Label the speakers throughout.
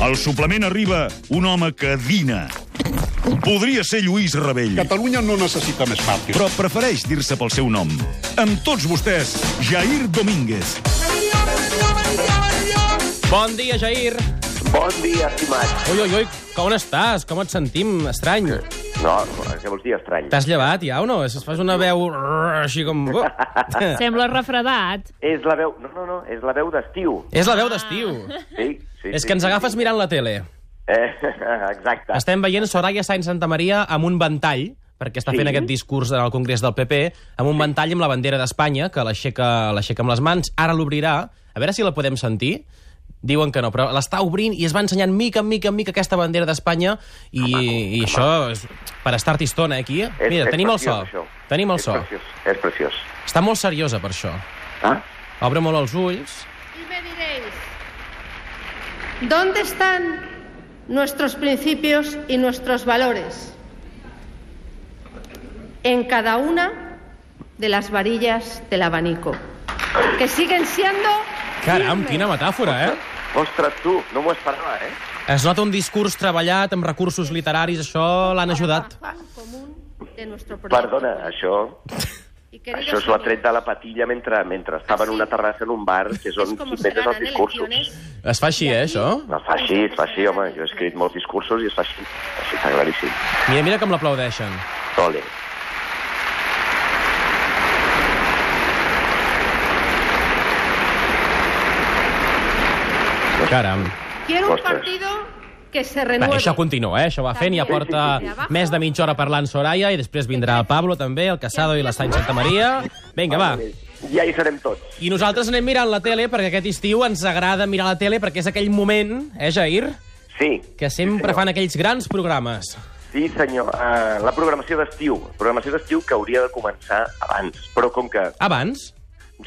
Speaker 1: Al suplement arriba un home que dina. Podria ser Lluís Rebell,
Speaker 2: Catalunya no necessita més màrtirs.
Speaker 1: però prefereix dir-se pel seu nom. Amb tots vostès, Jair Domínguez.
Speaker 3: Bon dia, Jair.
Speaker 4: Bon dia, estimat.
Speaker 3: Ui, ui, ui, com estàs? Com et sentim? Estrany.
Speaker 4: No, què vols dir estrany?
Speaker 3: T'has llevat ja o no? Es fas una veu rrr, així com... Oh.
Speaker 5: Sembla refredat.
Speaker 4: És la veu... No, no, no, és la veu d'estiu.
Speaker 3: És la veu d'estiu.
Speaker 4: Sí, sí,
Speaker 3: És
Speaker 4: sí,
Speaker 3: que ens
Speaker 4: sí,
Speaker 3: agafes
Speaker 4: sí.
Speaker 3: mirant la tele.
Speaker 4: Eh, exacte.
Speaker 3: Estem veient Soraya Sainz Santa Maria amb un ventall perquè està fent
Speaker 4: Sí.
Speaker 3: aquest discurs en el Congrés del PP, amb un ventall amb la bandera d'Espanya, que l'aixeca l'aixeca amb les mans, ara l'obrirà, a veure si la podem sentir, diuen que no, però l'està obrint i es va ensenyant mica en mica en mica aquesta bandera d'Espanya i, i això és per estar-t'hi estona eh, aquí.
Speaker 4: És,
Speaker 3: Mira,
Speaker 4: és
Speaker 3: tenim el so,
Speaker 4: preciós, Això.
Speaker 3: tenim el
Speaker 4: és
Speaker 3: so.
Speaker 4: Preciós, és preciós.
Speaker 3: Està molt seriosa per això.
Speaker 4: Ah?
Speaker 3: Obre molt els ulls.
Speaker 6: Y me diréis, ¿dónde están nuestros principios y nuestros valores? En cada una de las varillas del abanico, que siguen siendo...
Speaker 3: Caram,
Speaker 6: firmes.
Speaker 3: quina metàfora, eh?
Speaker 4: Ostres, tu, no m'ho esperava, eh?
Speaker 3: Es nota un discurs treballat amb recursos literaris, això l'han ajudat.
Speaker 6: Afán común de nuestro proyecto.
Speaker 4: Perdona, això,
Speaker 6: Y queridos
Speaker 4: això s'ho ha
Speaker 6: amigos,
Speaker 4: tret de la patilla mentre, mentre estava en una terrassa en un bar, que és
Speaker 6: es
Speaker 4: on
Speaker 6: como
Speaker 4: s'hi
Speaker 6: se
Speaker 4: meten els
Speaker 6: ganan
Speaker 4: discursos.
Speaker 6: elecciones.
Speaker 3: Es fa així, eh, això?
Speaker 4: No, fa així, es fa així, home. Jo he escrit molts discursos i es fa així. Així està claríssim.
Speaker 3: Mira, mira com l'aplaudeixen.
Speaker 4: Ole.
Speaker 3: Caram.
Speaker 6: Quiero un
Speaker 4: Ostras.
Speaker 6: partido que se
Speaker 3: Va,
Speaker 6: renueve.
Speaker 3: això continua, eh? Això va fent, ja porta més de mitja hora parlant Soraya i després vindrà el Pablo també, el Casado i la Sainz Santa Maria. Vinga, va.
Speaker 4: Ja hi serem tots.
Speaker 3: I nosaltres anem mirant la tele perquè aquest estiu ens agrada mirar la tele perquè és aquell moment, eh, Jair?
Speaker 4: Sí.
Speaker 3: Que sempre fan aquells grans programes.
Speaker 4: Sí, senyor. Uh, la programació d'estiu. Programació d'estiu que hauria de començar abans. Però com que...
Speaker 3: Abans?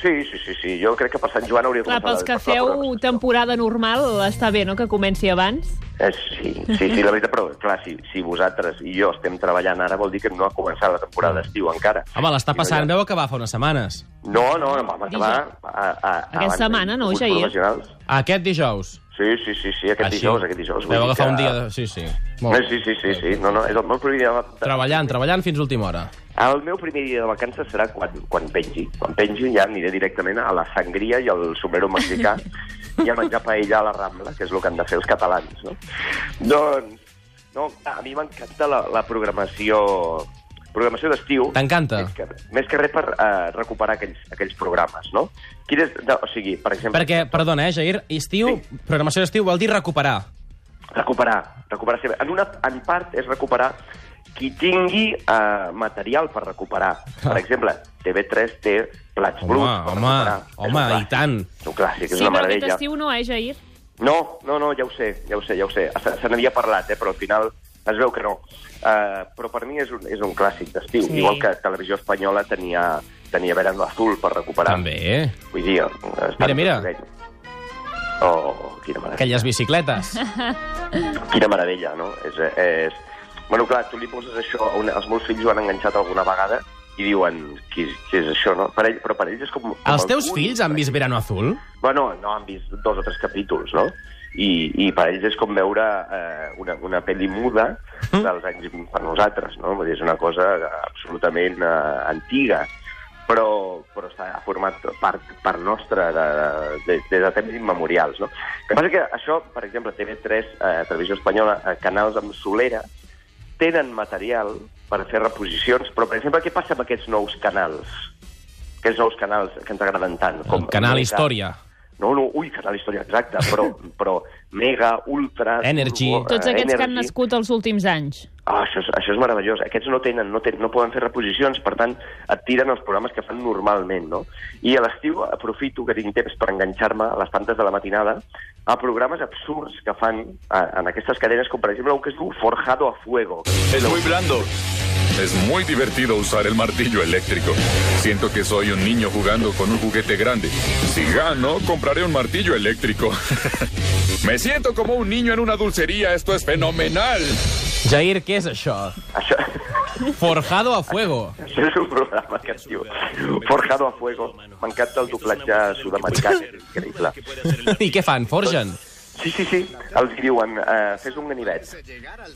Speaker 4: Sí, sí, sí, sí. Jo crec que per Sant Joan hauria de
Speaker 5: Clar,
Speaker 4: començar...
Speaker 5: pels que
Speaker 4: la
Speaker 5: feu
Speaker 4: programació.
Speaker 5: temporada normal, està bé, no?, que comenci abans.
Speaker 4: Eh, sí, sí, sí, la veritat, però clar, si, si vosaltres i jo estem treballant ara vol dir que no ha començat la temporada d'estiu encara.
Speaker 3: Home, l'està
Speaker 4: I no hi ha-
Speaker 3: passant, veu que va fa unes setmanes.
Speaker 4: No, no, no, home, que va... A, a, abans
Speaker 5: setmana, no,
Speaker 4: hi ha
Speaker 5: Jair?
Speaker 4: futbols nacionals.
Speaker 3: Aquest dijous.
Speaker 4: Sí, sí, sí, sí, aquest dijous, aquest dijous. vull
Speaker 3: Veu
Speaker 4: dir
Speaker 3: Ah, agafar
Speaker 4: que-
Speaker 3: un dia de... Sí, sí.
Speaker 4: No,
Speaker 3: Molt. bé.
Speaker 4: sí, sí, sí, sí, no, no, és el meu primer dia de...
Speaker 3: Treballant, treballant fins a última hora.
Speaker 4: El meu primer dia de vacances serà quan, quan pengi. Quan pengi ja aniré directament a la sangria i al sombrero mexicà i a menjar paella a la Rambla, que és el que han de fer els catalans, no? Doncs, no, a mi m'encanta la, la programació programació d'estiu.
Speaker 3: T'encanta?
Speaker 4: Més, que, més que res per eh, recuperar aquells, aquells programes, no? Quin és, de, o sigui, per exemple...
Speaker 3: Perquè, perdona, eh, Jair, estiu,
Speaker 4: Sí.
Speaker 3: programació d'estiu vol dir recuperar.
Speaker 4: Recuperar, recuperar sempre. En, una, en part és recuperar qui tingui eh, material per recuperar. Per exemple, TV3 té
Speaker 3: Ah.
Speaker 4: plats
Speaker 3: Home,
Speaker 4: bruts per
Speaker 3: home,
Speaker 4: recuperar. És un
Speaker 3: home,
Speaker 4: clàssic.
Speaker 3: i tant.
Speaker 4: És un clàssic, és
Speaker 5: Sí,
Speaker 4: una
Speaker 5: però aquest
Speaker 4: meravella.
Speaker 5: estiu no, eh, Jair?
Speaker 4: No, no, no, ja ho sé, ja ho sé, ja ho sé. Se, se n'havia parlat, eh, però al final es veu que no. Uh, però per mi és un, és un clàssic d'estiu.
Speaker 5: Sí.
Speaker 4: Igual que Televisió Espanyola tenia, tenia Verano Azul per recuperar.
Speaker 3: També. eh,
Speaker 4: Vull dir... eh,
Speaker 3: Mira, mira.
Speaker 4: Oh, quina meravella.
Speaker 3: Aquelles bicicletes.
Speaker 4: Quina meravella, no? És, és... Bueno, clar, tu li poses això... a Una... Els meus fills ho han enganxat alguna vegada i diuen, què, què és això, no? Per ell, però per ells és com... com
Speaker 3: Els
Speaker 4: el
Speaker 3: teus
Speaker 4: punt.
Speaker 3: fills han vist Verano Azul?
Speaker 4: Bueno, no, han vist dos o tres capítols, no? I, i per ells és com veure eh, una, una pel·li muda dels anys per nosaltres, no? Vull dir, és una cosa absolutament eh, antiga, però, però està format part, part nostra de, de, de, de temps immemorials, no? El que passa és que això, per exemple, TV3, eh, Televisió Espanyola, eh, canals amb solera, tenen material per fer reposicions, però, per exemple, què passa amb aquests nous canals? Aquests nous canals que ens agraden tant.
Speaker 3: El canal Història.
Speaker 4: No, no, ui, Canal Història, exacte, però, però Mega, Ultra...
Speaker 3: Energy.
Speaker 4: Turbo, eh,
Speaker 5: Tots aquests que han
Speaker 4: Energy.
Speaker 5: nascut els últims anys.
Speaker 4: Ah, això, és, això és meravellós. Aquests no tenen, no, tenen, no poden fer reposicions, per tant, et tiren els programes que fan normalment, no? I a l'estiu aprofito que tinc temps per enganxar-me a les tantes de la matinada a programes absurds que fan a, en aquestes cadenes, com per exemple un que es diu Forjado a Fuego.
Speaker 7: Es muy blando. Es muy divertido usar el martillo eléctrico. Siento que soy un niño jugando con un juguete grande. Si gano, compraré un martillo eléctrico. Me siento como un niño en una dulcería. Esto es fenomenal.
Speaker 3: Jair, què és això?
Speaker 4: Això,
Speaker 3: Forjado a fuego.
Speaker 4: això és un programa que es diu Forjado a Fuego. M'encanta el doblatge sud-americà, és increïble.
Speaker 3: I què fan? Forgen?
Speaker 4: Sí, sí, sí. Els diuen, eh, fes un ganivet.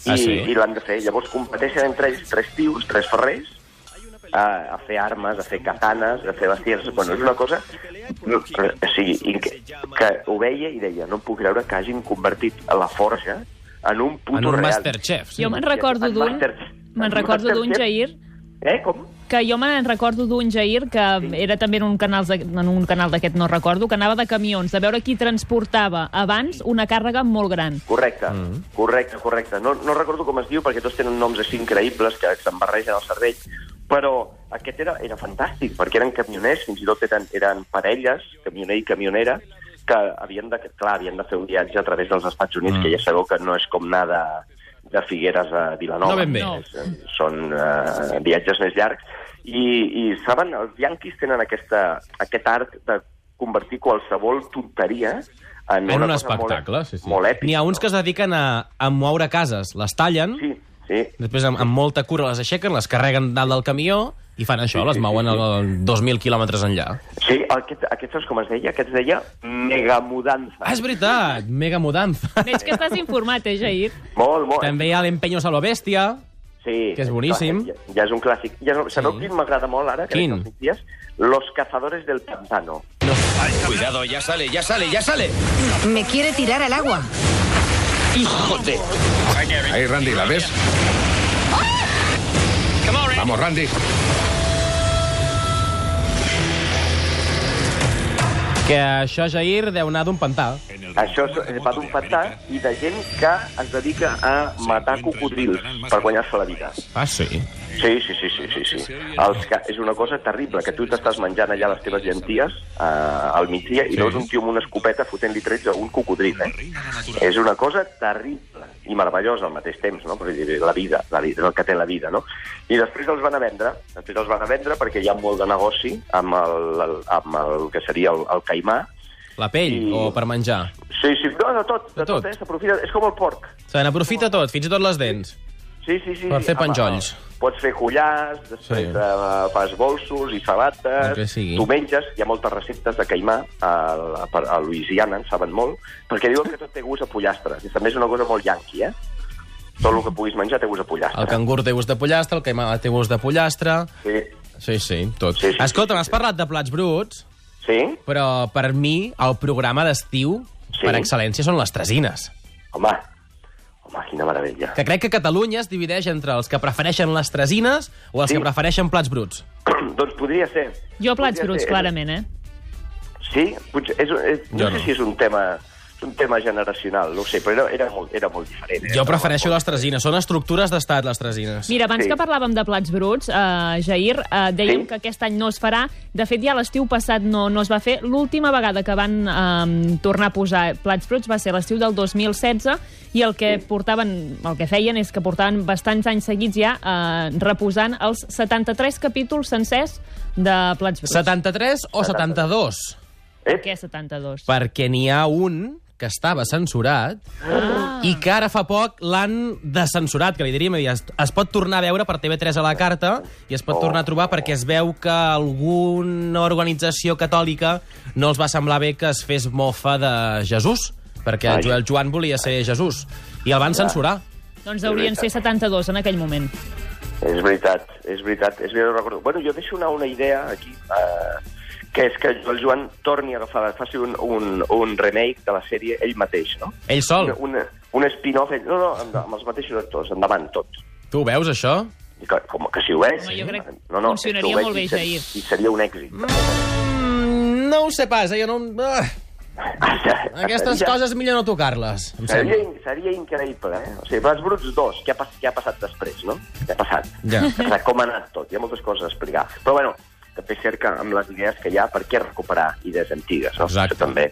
Speaker 4: I,
Speaker 3: Ah, sí?
Speaker 4: i l'han de fer. Llavors competeixen entre ells tres tios, tres ferrers, a, a fer armes, a fer katanes, a fer bestiars... Bueno, és una cosa... no, eh, O sigui, in- que, que ho veia i deia, no em puc creure que hagin convertit la forja en un puto
Speaker 3: En un
Speaker 4: real.
Speaker 3: Masterchef. Sí.
Speaker 5: Jo me'n recordo
Speaker 4: En
Speaker 5: d'un...
Speaker 4: Master-
Speaker 5: Me'n
Speaker 4: en
Speaker 5: recordo d'un,
Speaker 4: Masterchef.
Speaker 5: Jair,
Speaker 4: Eh, com?
Speaker 5: que jo me'n recordo d'un Jair que era també en un canal de- en un canal d'aquest, no recordo, que anava de camions, de veure qui transportava abans una càrrega molt gran.
Speaker 4: Correcte, mm. correcte, correcte. No, no recordo com es diu, perquè tots tenen noms així increïbles que se'n barregen al cervell, però aquest era, era fantàstic, perquè eren camioners, fins i tot eren, eren parelles, camioner i camionera, que havien de, clar, havien de fer un viatge a través dels Estats Units, mm. que ja sabeu que no és com anar de, de Figueres a Vilanova.
Speaker 3: No ben bé.
Speaker 5: No.
Speaker 4: És- Són eh, viatges més llargs. I, I saben, els yanquis tenen aquesta, aquest art de convertir qualsevol tonteria en,
Speaker 3: En
Speaker 4: una
Speaker 3: un
Speaker 4: cosa
Speaker 3: espectacle,
Speaker 4: molt,
Speaker 3: sí, sí.
Speaker 4: molt èpic.
Speaker 3: N'hi ha uns
Speaker 4: no?
Speaker 3: que es dediquen a, a moure cases. Les tallen,
Speaker 4: Sí, sí.
Speaker 3: després amb, amb molta cura les aixequen, les carreguen dalt del camió i fan això, les mouen al, al 2.000 quilòmetres enllà.
Speaker 4: Sí, aquest, aquest saps com es deia? Aquest es deia megamudanza.
Speaker 3: Ah, és veritat! Mega mudanza.
Speaker 5: Veig que estàs informat, eh, Jair?
Speaker 4: Molt, molt.
Speaker 3: També hi ha l'empeño a la bèstia.
Speaker 4: Sí.
Speaker 3: que és boníssim.
Speaker 4: Ja, ja és un clàssic. Ja, no- sabeu
Speaker 3: Sí.
Speaker 4: quin m'agrada molt ara? Que
Speaker 3: Quin?
Speaker 4: veig els Dies? Los cazadores del pantano.
Speaker 8: Cuidado, ya sale, ya sale, ya sale.
Speaker 9: Me quiere tirar al agua.
Speaker 7: Ahí, Randy, ¿la ves? Vamos, Randy.
Speaker 3: Que això, Jair, deu anar d'un pantà.
Speaker 4: Això és eh, va d'un pantà i de gent que es dedica a matar cocodrils per guanyar-se la vida.
Speaker 3: Ah, sí?
Speaker 4: Sí, sí, sí, sí, sí. sí. Els ca... És una cosa terrible, que tu t'estàs menjant allà les teves llenties eh, al migdia i veus un tio amb una escopeta fotent-li trets a un cocodril, eh? És una cosa terrible i meravellosa al mateix temps, no? Perquè la vida, la vida, és el que té la vida, no? I després els van a vendre, després els van a vendre perquè hi ha molt de negoci amb el, el, amb el que seria el, el caimà.
Speaker 3: La pell,
Speaker 4: I-
Speaker 3: o per menjar.
Speaker 4: Sí, sí, no, de tot,
Speaker 3: De
Speaker 4: de,
Speaker 3: tot.
Speaker 4: tot, eh? S'aprofita, és com el porc.
Speaker 3: Se n'aprofita tot, fins i tot les dents.
Speaker 4: Sí, sí, sí.
Speaker 3: Per fer
Speaker 4: Amb-
Speaker 3: penjolls.
Speaker 4: Pots fer collars, després
Speaker 3: Sí.
Speaker 4: sí. uh, fas bolsos i sabates,
Speaker 3: El que sigui.
Speaker 4: tu menges, hi ha moltes receptes de caimà a, a, a Louisiana, en saben molt, perquè diuen que tot té gust a pollastres, i també és una cosa molt yanqui, eh? Tot el que puguis menjar té gust a
Speaker 3: El
Speaker 4: pollastre.
Speaker 3: cangur té gust de pollastre, el caimà té gust de pollastre...
Speaker 4: Sí.
Speaker 3: Sí, sí, tot.
Speaker 4: Sí, sí,
Speaker 3: Escolta,
Speaker 4: sí,
Speaker 3: m'has
Speaker 4: sí.
Speaker 3: parlat de plats bruts,
Speaker 4: sí?
Speaker 3: però per mi el programa d'estiu
Speaker 4: Sí.
Speaker 3: per excel·lència són les tresines.
Speaker 4: Home, home, quina meravella.
Speaker 3: Que crec que Catalunya es divideix entre els que prefereixen les tresines o els
Speaker 4: Sí.
Speaker 3: que prefereixen plats bruts.
Speaker 4: doncs podria ser.
Speaker 5: Jo plats
Speaker 4: Podria
Speaker 5: bruts,
Speaker 4: ser.
Speaker 5: clarament, eh?
Speaker 4: Sí, potser, és, és, no,
Speaker 3: Jo
Speaker 4: sé
Speaker 3: no.
Speaker 4: si és un tema és un tema generacional, no ho sé, però era, era, molt, era molt diferent. eh?
Speaker 3: Jo
Speaker 4: Era
Speaker 3: prefereixo
Speaker 4: molt-
Speaker 3: les tresines. Són estructures d'estat, les tresines.
Speaker 5: Mira, abans
Speaker 4: Sí.
Speaker 5: que parlàvem de plats bruts, eh, Jair, eh, dèiem
Speaker 4: Sí.
Speaker 5: que aquest any no es farà. De fet, ja l'estiu passat no, no es va fer. L'última vegada que van eh, tornar a posar plats bruts va ser l'estiu del 2016 i el que portaven, el que feien és que portaven bastants anys seguits ja eh, reposant els 73 capítols sencers de plats bruts.
Speaker 3: 73 o 72?
Speaker 4: Eh?
Speaker 5: Què 72?
Speaker 3: Perquè n'hi ha un que estava censurat
Speaker 5: Ah,
Speaker 3: i que ara fa poc l'han descensurat, que li diríem, i es, es pot tornar a veure per TV3 a la carta i es
Speaker 4: Oh.
Speaker 3: pot tornar a trobar perquè es veu que alguna organització catòlica no els va semblar bé que es fes mofa de Jesús, perquè
Speaker 4: Ai.
Speaker 3: el Joel Joan volia ser Jesús, i el van censurar.
Speaker 5: Doncs haurien ser 72 en aquell moment.
Speaker 4: És veritat, és veritat. És veritat, ho recordo. Bueno, jo deixo anar una idea aquí, eh, que és que el Joan torni a agafar, faci un, un, un remake de la sèrie ell mateix, no?
Speaker 3: Ell sol.
Speaker 4: Un, un, un spin-off, ell- no, no, amb, amb els mateixos actors, endavant, tot.
Speaker 3: Tu ho veus, això?
Speaker 4: I Que, com que si ho veig...
Speaker 5: Home, jo crec que
Speaker 4: no, no, és
Speaker 5: funcionaria
Speaker 4: que ho veig
Speaker 5: molt bé,
Speaker 4: i ser-
Speaker 5: Jair.
Speaker 4: I seria un èxit.
Speaker 3: Mm, no ho sé pas, eh? Jo no... Ah, aquestes
Speaker 4: Seria-
Speaker 3: coses millor no tocar-les, em
Speaker 4: Seria,
Speaker 3: sembla.
Speaker 4: seria increïble, eh? O sigui, Plats Bruts 2, què ha, pas, què ha passat després, no? Què ha passat?
Speaker 3: Ja.
Speaker 4: Què ha passat? Com ha anat tot? Hi ha moltes coses a explicar. Però, bueno, també és cert que amb les idees que hi ha, per què recuperar idees antigues, no?
Speaker 3: Exacte.
Speaker 4: Això també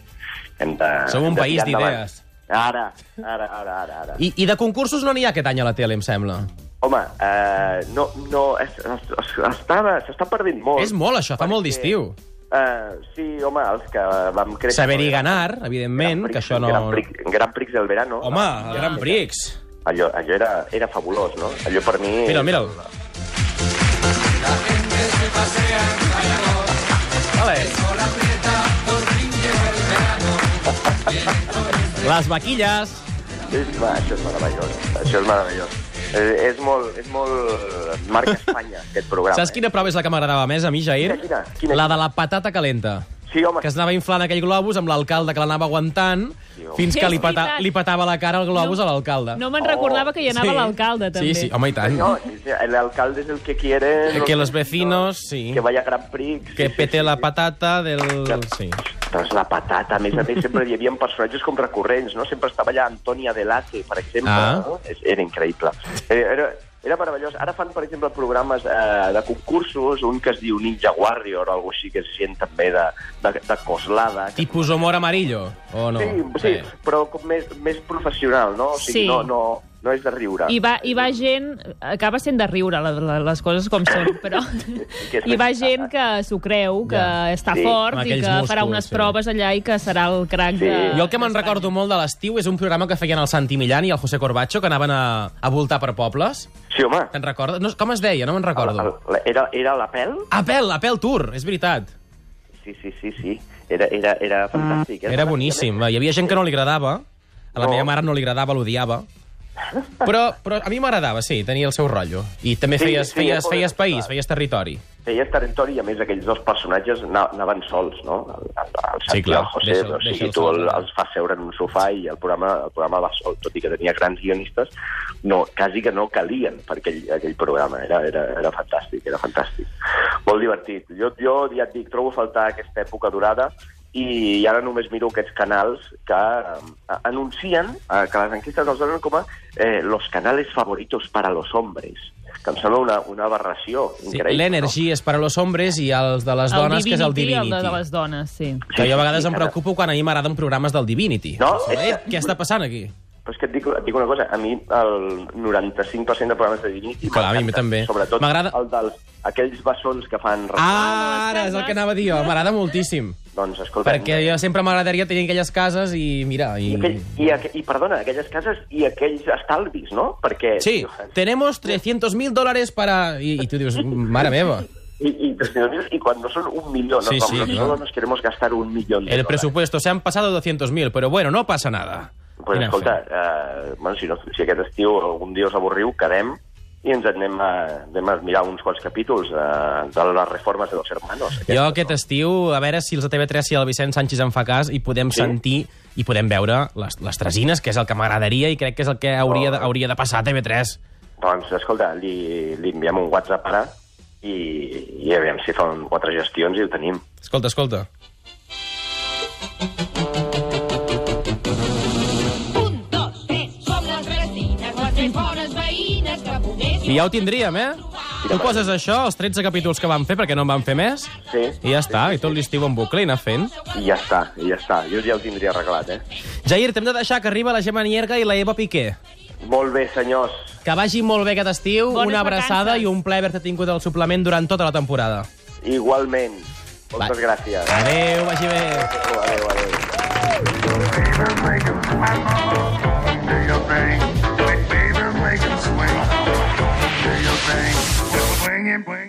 Speaker 4: hem de...
Speaker 3: Som un
Speaker 4: hem de
Speaker 3: país
Speaker 4: tirar endavant.
Speaker 3: d'idees.
Speaker 4: Ara, ara, ara, ara. ara. I...
Speaker 3: I, I de concursos no n'hi ha aquest any a la tele, em sembla.
Speaker 4: Home, eh, no, no, es, es, es, estava- s'està perdent molt.
Speaker 3: És molt, això, fa molt d'estiu.
Speaker 4: Eh, sí, home, els que vam créixer...
Speaker 3: Saber i ganar, evidentament,
Speaker 4: Gran
Speaker 3: que
Speaker 4: Prix,
Speaker 3: això no...
Speaker 4: Gran Prix, Gran Prix del verano.
Speaker 3: Home, el Gran Prix.
Speaker 4: Allò, allò era, era fabulós, no? Allò per mi...
Speaker 3: Mira, mira'l. Vale. Les vaquilles.
Speaker 4: És, va, això és meravellós. Això és meravellós. És, és molt, és molt marca Espanya, aquest programa. eh?
Speaker 3: Saps quina prova és la que m'agradava més a mi, Jair?
Speaker 4: Quina, quina, quina?
Speaker 3: La de la patata calenta.
Speaker 4: Sí, home.
Speaker 3: Que es anava inflant aquell globus amb l'alcalde que l'anava aguantant fins que li,
Speaker 5: És
Speaker 3: pata,
Speaker 5: veritat.
Speaker 3: li patava la cara el globus a l'alcalde.
Speaker 5: No
Speaker 4: Oh.
Speaker 5: me'n recordava que hi anava
Speaker 3: Sí.
Speaker 5: l'alcalde, també.
Speaker 3: Sí, sí, home, i tant.
Speaker 4: No, sí, sí, el alcalde es el que quiere...
Speaker 3: Eh, que los vecinos, sí.
Speaker 4: Que vaya a Grand Prix.
Speaker 3: Que pete la patata del... Sí.
Speaker 4: Ostres, la patata. A més a més, sempre hi havia personatges com recurrents, no? Sempre estava allà Antonia Delate, per exemple.
Speaker 3: Ah.
Speaker 4: No? És- Era increïble. Era, era, era meravellós. Ara fan, per exemple, programes eh, de concursos, un que es diu Ninja Warrior o alguna així, que és gent també de, de, de coslada. Que
Speaker 3: Tipus humor amarillo, o no? eh.
Speaker 4: Sí, sí, però com més, més professional, no? O sigui,
Speaker 5: Sí.
Speaker 4: no, no, no és de riure.
Speaker 5: I va, I va gent... Acaba sent de riure la, la, les coses com són, però...
Speaker 4: Que és
Speaker 5: I va
Speaker 4: veritat.
Speaker 5: gent que s'ho creu, que
Speaker 3: Ja.
Speaker 5: està
Speaker 4: Sí.
Speaker 5: fort
Speaker 3: Amb
Speaker 5: i
Speaker 3: aquells
Speaker 5: que farà
Speaker 3: músculs,
Speaker 5: unes
Speaker 3: sí.
Speaker 5: proves allà i que serà el crac
Speaker 4: Sí.
Speaker 5: de...
Speaker 3: Jo el que me'n
Speaker 5: d'Espanya.
Speaker 3: recordo molt de l'estiu és un programa que feien el Santi Millán i el José Corbacho, que anaven a, a voltar per pobles.
Speaker 4: Sí, home.
Speaker 3: Te'n recordes? No, com es deia? No me'n recordo.
Speaker 4: El, el, era, era la pèl?
Speaker 3: Apel, Apel Tour, és veritat.
Speaker 4: Sí, sí, sí, sí. Era, era, era fantàstic. eh?
Speaker 3: Mm. Era boníssim. va. Hi havia gent que no li agradava. A la
Speaker 4: No.
Speaker 3: meva mare no li agradava, l'odiava. Però, però a mi m'agradava, sí, tenia el seu rotllo. I també
Speaker 4: Sí,
Speaker 3: feies,
Speaker 4: sí,
Speaker 3: feies,
Speaker 4: és molt
Speaker 3: feies país,
Speaker 4: interessant.
Speaker 3: feies territori.
Speaker 4: Feies territori i, a més, aquells dos personatges ana- anaven sols, no? El, el, el Santi
Speaker 3: clar,
Speaker 4: i el José,
Speaker 3: deixa'l-
Speaker 4: o sigui,
Speaker 3: deixa'l
Speaker 4: tu
Speaker 3: sol,
Speaker 4: el,
Speaker 3: clar.
Speaker 4: els fas seure en un sofà i el programa, el programa va sol, tot i que tenia grans guionistes, no, quasi que no calien per aquell, aquell programa. Era, era, era fantàstic, era fantàstic. Molt divertit. Jo, jo ja et dic, trobo a faltar aquesta època durada i ara només miro aquests canals que eh, anuncien eh, que les enquestes els donen com a eh, los canales favoritos para los hombres que em sembla una, una aberració
Speaker 3: Sí,
Speaker 4: increïble.
Speaker 3: L'energia és per a los hombres i els de les
Speaker 5: El
Speaker 3: dones, que és el
Speaker 5: Divinity,
Speaker 3: Divinity.
Speaker 5: El de, de les dones, sí.
Speaker 4: No?
Speaker 3: Que jo a vegades
Speaker 4: sí,
Speaker 3: em
Speaker 4: cada-
Speaker 3: preocupo quan a mi m'agraden programes del Divinity.
Speaker 4: No,
Speaker 3: Penso,
Speaker 4: és
Speaker 3: Eh,
Speaker 4: que-
Speaker 3: què està passant aquí?
Speaker 4: Però és que et dic, et dic una cosa, a mi el 95% de programes de Divinity...
Speaker 3: Clar, a mi
Speaker 4: m'encanten.
Speaker 3: també.
Speaker 4: Sobretot
Speaker 3: M'agrada-
Speaker 4: el dels, aquells bessons que fan...
Speaker 3: Ah,
Speaker 5: no,
Speaker 3: ara és el que anava a dir jo. M'agrada moltíssim.
Speaker 4: Doncs escolta...
Speaker 3: Perquè jo sempre m'agradaria tenir aquelles cases i, mira... I...
Speaker 4: I, aquell, i, aqu I, perdona, aquelles cases i aquells estalvis, no? Perquè...
Speaker 3: Sí, tenemos 300.000 dólares para... I, I tu dius, mare meva.
Speaker 4: I, i, 300.000, i quan no són un milió, no?
Speaker 3: Sí, sí,
Speaker 4: Nosotros
Speaker 3: clar.
Speaker 4: solo nos queremos gastar un milló
Speaker 3: El
Speaker 4: de dólares.
Speaker 3: presupuesto, se han pasado 200.000, pero bueno, no passa nada.
Speaker 4: Pues
Speaker 3: Anem
Speaker 4: escolta,
Speaker 3: fent.
Speaker 4: eh, bueno, si, no, si aquest estiu algun dia us avorriu, quedem i ens anem a, anem a mirar uns quants capítols eh, de les reformes de los hermanos.
Speaker 3: Jo aquest estiu, a veure si els de TV3 i el Vicent Sánchez en fa cas i podem sí? sentir i podem veure les, les tresines, que és el que m'agradaria i crec que és el que hauria de, hauria de passar a TV3.
Speaker 4: Doncs, escolta, li, li enviem un WhatsApp ara i, i aviam si fa un- quatre gestions i ho tenim.
Speaker 3: Escolta, escolta.
Speaker 10: Un, dos, tres, som les vecines, les més bones veïnes que
Speaker 3: I
Speaker 10: poguéssim...
Speaker 3: ja ho tindríem, eh? Tu poses això, els 13 capítols que van fer, perquè no en van fer més,
Speaker 4: Sí.
Speaker 3: i ja està, i tot l'estiu en bucle i anar fent.
Speaker 4: I ja està, i ja està. Jo ja ho tindria arreglat, eh?
Speaker 3: Jair, t'hem de deixar que arriba la Gemma Nierga i la Eva Piqué.
Speaker 4: Molt bé, senyors.
Speaker 3: Que vagi molt bé aquest estiu,
Speaker 5: Bones
Speaker 3: una abraçada
Speaker 5: vacances.
Speaker 3: i un plaer haver-te tingut al suplement durant tota la temporada.
Speaker 4: Igualment.
Speaker 3: Va.
Speaker 4: Moltes gràcies.
Speaker 3: Adéu, vagi bé.
Speaker 4: Adéu, adéu, adéu.
Speaker 10: Baby, make 'em swing. Do your thing. Swing and bring.